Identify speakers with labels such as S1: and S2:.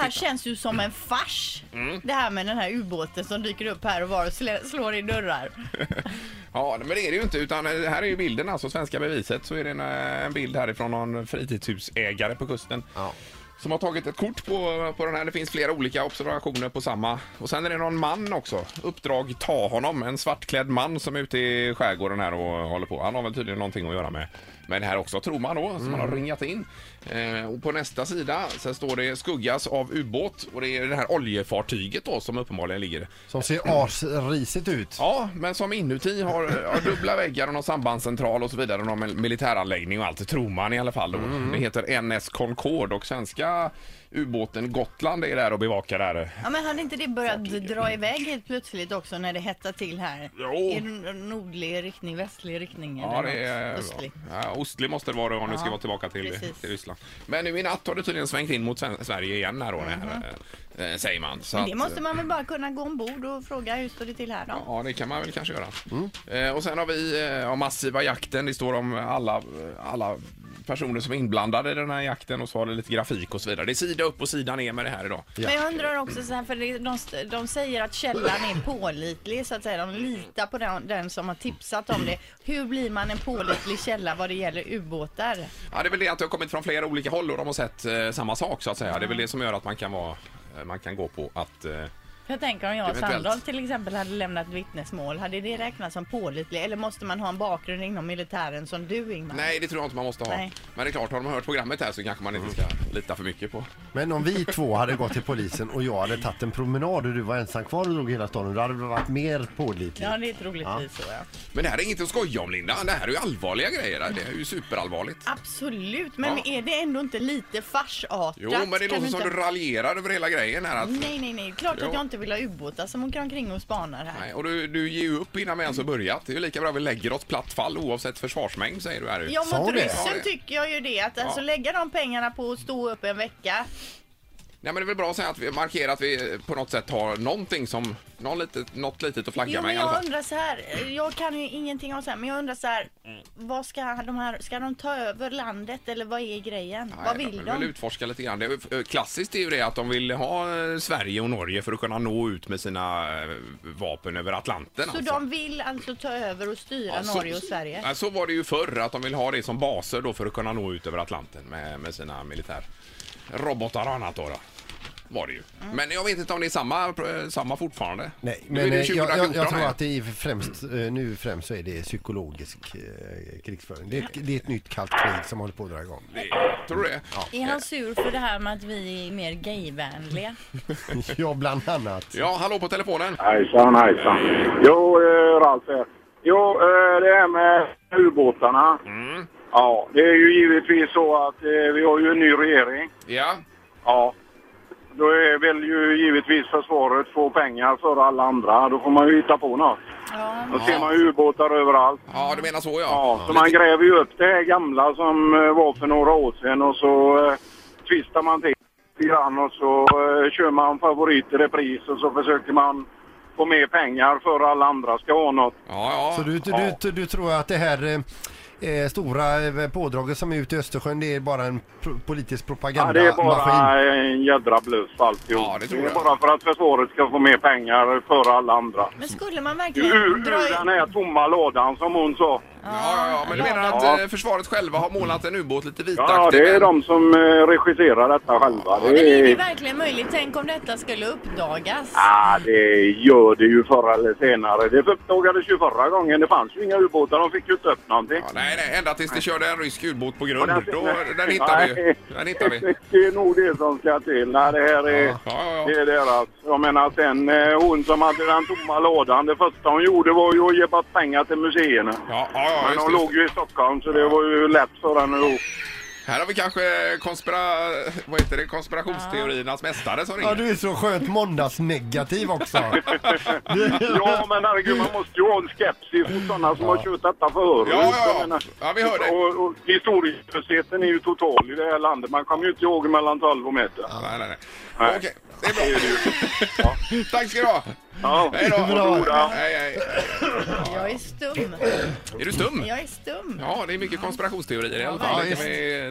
S1: här känns ju som en fars.
S2: Mm.
S1: Det här med den här ubåten som dyker upp här och var och slä- slår i dörrar.
S2: Ja, men det är det ju inte. Utan eh, här är ju bilden, alltså svenska beviset. Så är det en, eh, en bild härifrån någon fritidshusägare på kusten.
S3: Ja.
S2: Som har tagit ett kort på, på den här. Det finns flera olika observationer på samma. Och sen är det någon man också. Uppdrag ta honom. En svartklädd man som är ute i skärgården här och håller på. Han har väl tydligen någonting att göra med, med det här också, tror man då. Som man har ringat in. Eh, och på nästa sida sen står det skuggas av ubåt. Och det är det här oljefartyget då som uppenbarligen ligger
S3: Som ser asrisigt ut.
S2: Ja, men som inuti har, har dubbla väggar och någon sambandscentral och så vidare och någon mil- militäranläggning och allt. Det tror man i alla fall. då.
S1: Mhm.
S2: Det heter NS Concorde och svenska ubåten Gotland är där och bevakar det här.
S1: Ja, men hade inte det börjat dra iväg helt plötsligt också när det hettar till här?
S2: Jo.
S1: I n- nordlig riktning, västlig riktning
S2: Ja,
S1: eller
S2: det är,
S1: något östlig.
S2: ja, Ostlig måste det vara om du ska
S1: Ja,
S2: vara tillbaka till,
S1: precis.
S2: till Ryssland. Men nu i natt har det tydligen svängt in mot Sven- Sverige igen här då, det här, eh, säger man. Så
S1: Mhm. Men det
S2: att- eh,
S1: måste man väl bara kunna gå ombord och fråga hur står det till här då?
S2: Ja, det kan man väl kanske göra. Eh, och sen har vi eh, ja, massiva jakten. Det står om alla, alla personer som är inblandade i den här jakten och så har det lite grafik och så vidare. Det är sida upp och sida ner med det här idag.
S3: Ja.
S1: Men jag undrar också så här, för det- de, st- de säger att källan är pålitlig så att säga. De litar på den, den som har tipsat om det. Hur blir man en pålitlig källa vad det gäller ubåtar?
S2: Ja, det är väl det att det har kommit från flera olika håll och de har sett eh, samma sak så att säga. Det är väl det som gör att man kan vara eh, man kan gå på att... Eh,
S1: Jag tänker om jag och
S2: Eventuellt.
S1: Sandholt till exempel hade lämnat vittnesmål. Hade det räknats som pålitlig? Eller måste man ha en bakgrund inom militären som du Ingmar?
S2: nej, det tror jag inte man måste ha.
S1: Nej.
S2: Men det är klart, har de hört programmet här så kanske man inte ska lita för mycket på.
S3: Men om vi två hade gått till polisen och jag hade tagit en promenad och du var ensam kvar och drog hela staden, då hade du varit mer pålitlig.
S1: Ja, det är troligtvis så ja.
S2: Men det här är inget att skoja om, Linda. Det här är ju allvarliga grejer. Det är ju superallvarligt.
S1: Absolut, men
S2: Ja.
S1: är det ändå inte lite farsartat?
S2: Jo, men det
S1: Kan
S2: låter
S1: du
S2: som
S1: inte-
S2: du raljerar över hela grejen här. Att
S1: Nej, nej, nej. Klart
S2: Jo.
S1: att jag inte vill ha ubåtar som åker omkring och spanar här.
S2: Nej, och du, du ger ju upp innan vi ens har börjat. Det är ju lika bra vi lägger oss platt fall oavsett försvarsmängd säger du här.
S1: Ja,
S3: Sa
S1: mot
S2: Ja,
S3: det?
S2: det.
S1: ryssen tycker jag ju det. Att alltså
S2: Ja.
S1: lägga de pengarna på att stå upp en vecka.
S2: Nej men det är väl bra att säga att vi markerar att vi på något sätt har någonting som, någon litet, något litet att flagga
S1: Jo,
S2: med
S1: men
S2: i alla
S1: jag
S2: fall.
S1: undrar så här. eh, Jag kan ju ingenting om så här, men jag undrar så här.
S2: Mm.
S1: Vad ska de här, ska de ta över landet eller vad är grejen? vad
S2: Nej,
S1: vill
S2: de vill
S1: de?
S2: utforska lite grann. Det, är ju- eh, klassiskt är ju det att de vill ha eh, Sverige och Norge för att kunna nå ut med sina eh, vapen över Atlanten.
S1: Så
S2: alltså.
S1: de vill alltså ta över och styra
S2: Ja, så-
S1: Norge och Sverige?
S2: Ja, så var det ju förr, att de vill ha det som baser då för att kunna nå ut över Atlanten med, med sina militärrobotar och annat då. då. Var det ju.
S1: Mm.
S2: Men jag vet inte om det är samma, eh, samma fortfarande.
S3: Nej,
S2: Nu är
S3: men
S2: det
S3: eh,
S2: ju
S3: jag, jag, jag
S2: 2014
S3: tror
S2: här.
S3: att det är främst, eh, nu främst så är det psykologisk eh, krigsföring. Det är, ett- det är ett nytt kallt krig som håller på att dra igång.
S2: Det- Tror du det?
S1: Är han sur för det här med att vi är mer gayvänliga?
S3: Ja, bland annat.
S2: Ja, hallå på telefonen.
S4: Hejsan, hejsan. Jo, eh, Ralf här. Jo, eh, det här med ubåtarna. Ja, det är ju givetvis så att eh, vi har ju en ny regering.
S2: Ja,
S4: Ja. Då är väl ju givetvis försvaret få pengar före alla andra. Då får man ju hitta på något.
S1: Ja,
S4: Då ser man ju ubåtar överallt.
S2: ja du menar så ja.
S4: Ja, så man gräver ju upp det här gamla som eh, var för några år sedan och så eh, tvistar man till lite grann och så eh, kör man favorit i repris och så försöker man få mer pengar för alla andra ska ha något.
S2: Ja, ja.
S3: Så du, du, du, du tror att det här eh, eh, stora eh, pådraget som är ute i Östersjön, det är bara en pro politisk
S4: Ja, det är bara
S3: propagandamaskin?
S4: en jädra bluff alltihop.
S2: Ja, det tror jag.
S4: är bara för att försvaret ska få mer pengar för alla andra.
S1: men skulle man
S4: Ur,
S1: verkligen dra
S4: ur den
S1: in...
S4: här tomma lådan som hon sa.
S2: Ja,
S1: Ah.
S2: ja, ja, men du menar att eh, försvaret själva har målat en ubåt lite vitaktig?
S4: Ja, det är
S2: men-
S4: de som eh, regisserar detta själva.
S1: Men
S4: Det
S1: är det
S4: är...
S1: verkligen möjligt? Tänk om detta skulle uppdagas?
S4: Ja, Ah, det gör det ju förr eller senare. Det uppdagades ju förra gången. Det fanns ju inga ubåtar. De fick ju inte upp någonting.
S2: Ja, nej, nej, ända tills det körde en rysk ubåt på grund.
S4: Och
S2: Då, den hittar vi ju.
S4: Nej.
S2: Den hittar vi.
S4: Det är nog det som ska till. Nej, det här är...
S2: ja, ja.
S4: Det är deras. Jag menar sen eh, hon som hade den tomma lådan. Det första hon gjorde var ju att ge bort pengar till museerna.
S2: Ja, ja, ja,
S4: Men
S2: just
S4: hon
S2: det.
S4: låg ju i Stockholm så det var ju lätt för henne att...
S2: Här har vi kanske konspira... Vad heter det? konspirationsteoriernas mästare som
S3: Ja,
S2: ringer.
S3: du är så skönt måndagsnegativ också.
S4: Ja, men herregud, man måste ju ha en skepsis mot sådana som har kört detta förut.
S2: Ja, ja, ja.
S4: Jag menar,
S2: Ja, vi hör dig.
S4: Och, och historielösheten är ju total i det här landet. Man kommer ju inte ihåg mellan 12 och meter.
S2: Nej, nej, nej.
S4: Nej.
S2: Okej, det är bra. Tack ska du ha.
S4: Ja,
S2: Hej då.
S4: Varsågoda.
S2: Hej, hej.
S1: Jag är stum.
S2: Är du stum?
S1: Jag är stum.
S2: Ja, det är mycket konspirationsteorier i alla fall.
S3: Ja,
S2: det kan
S3: visst.
S2: vi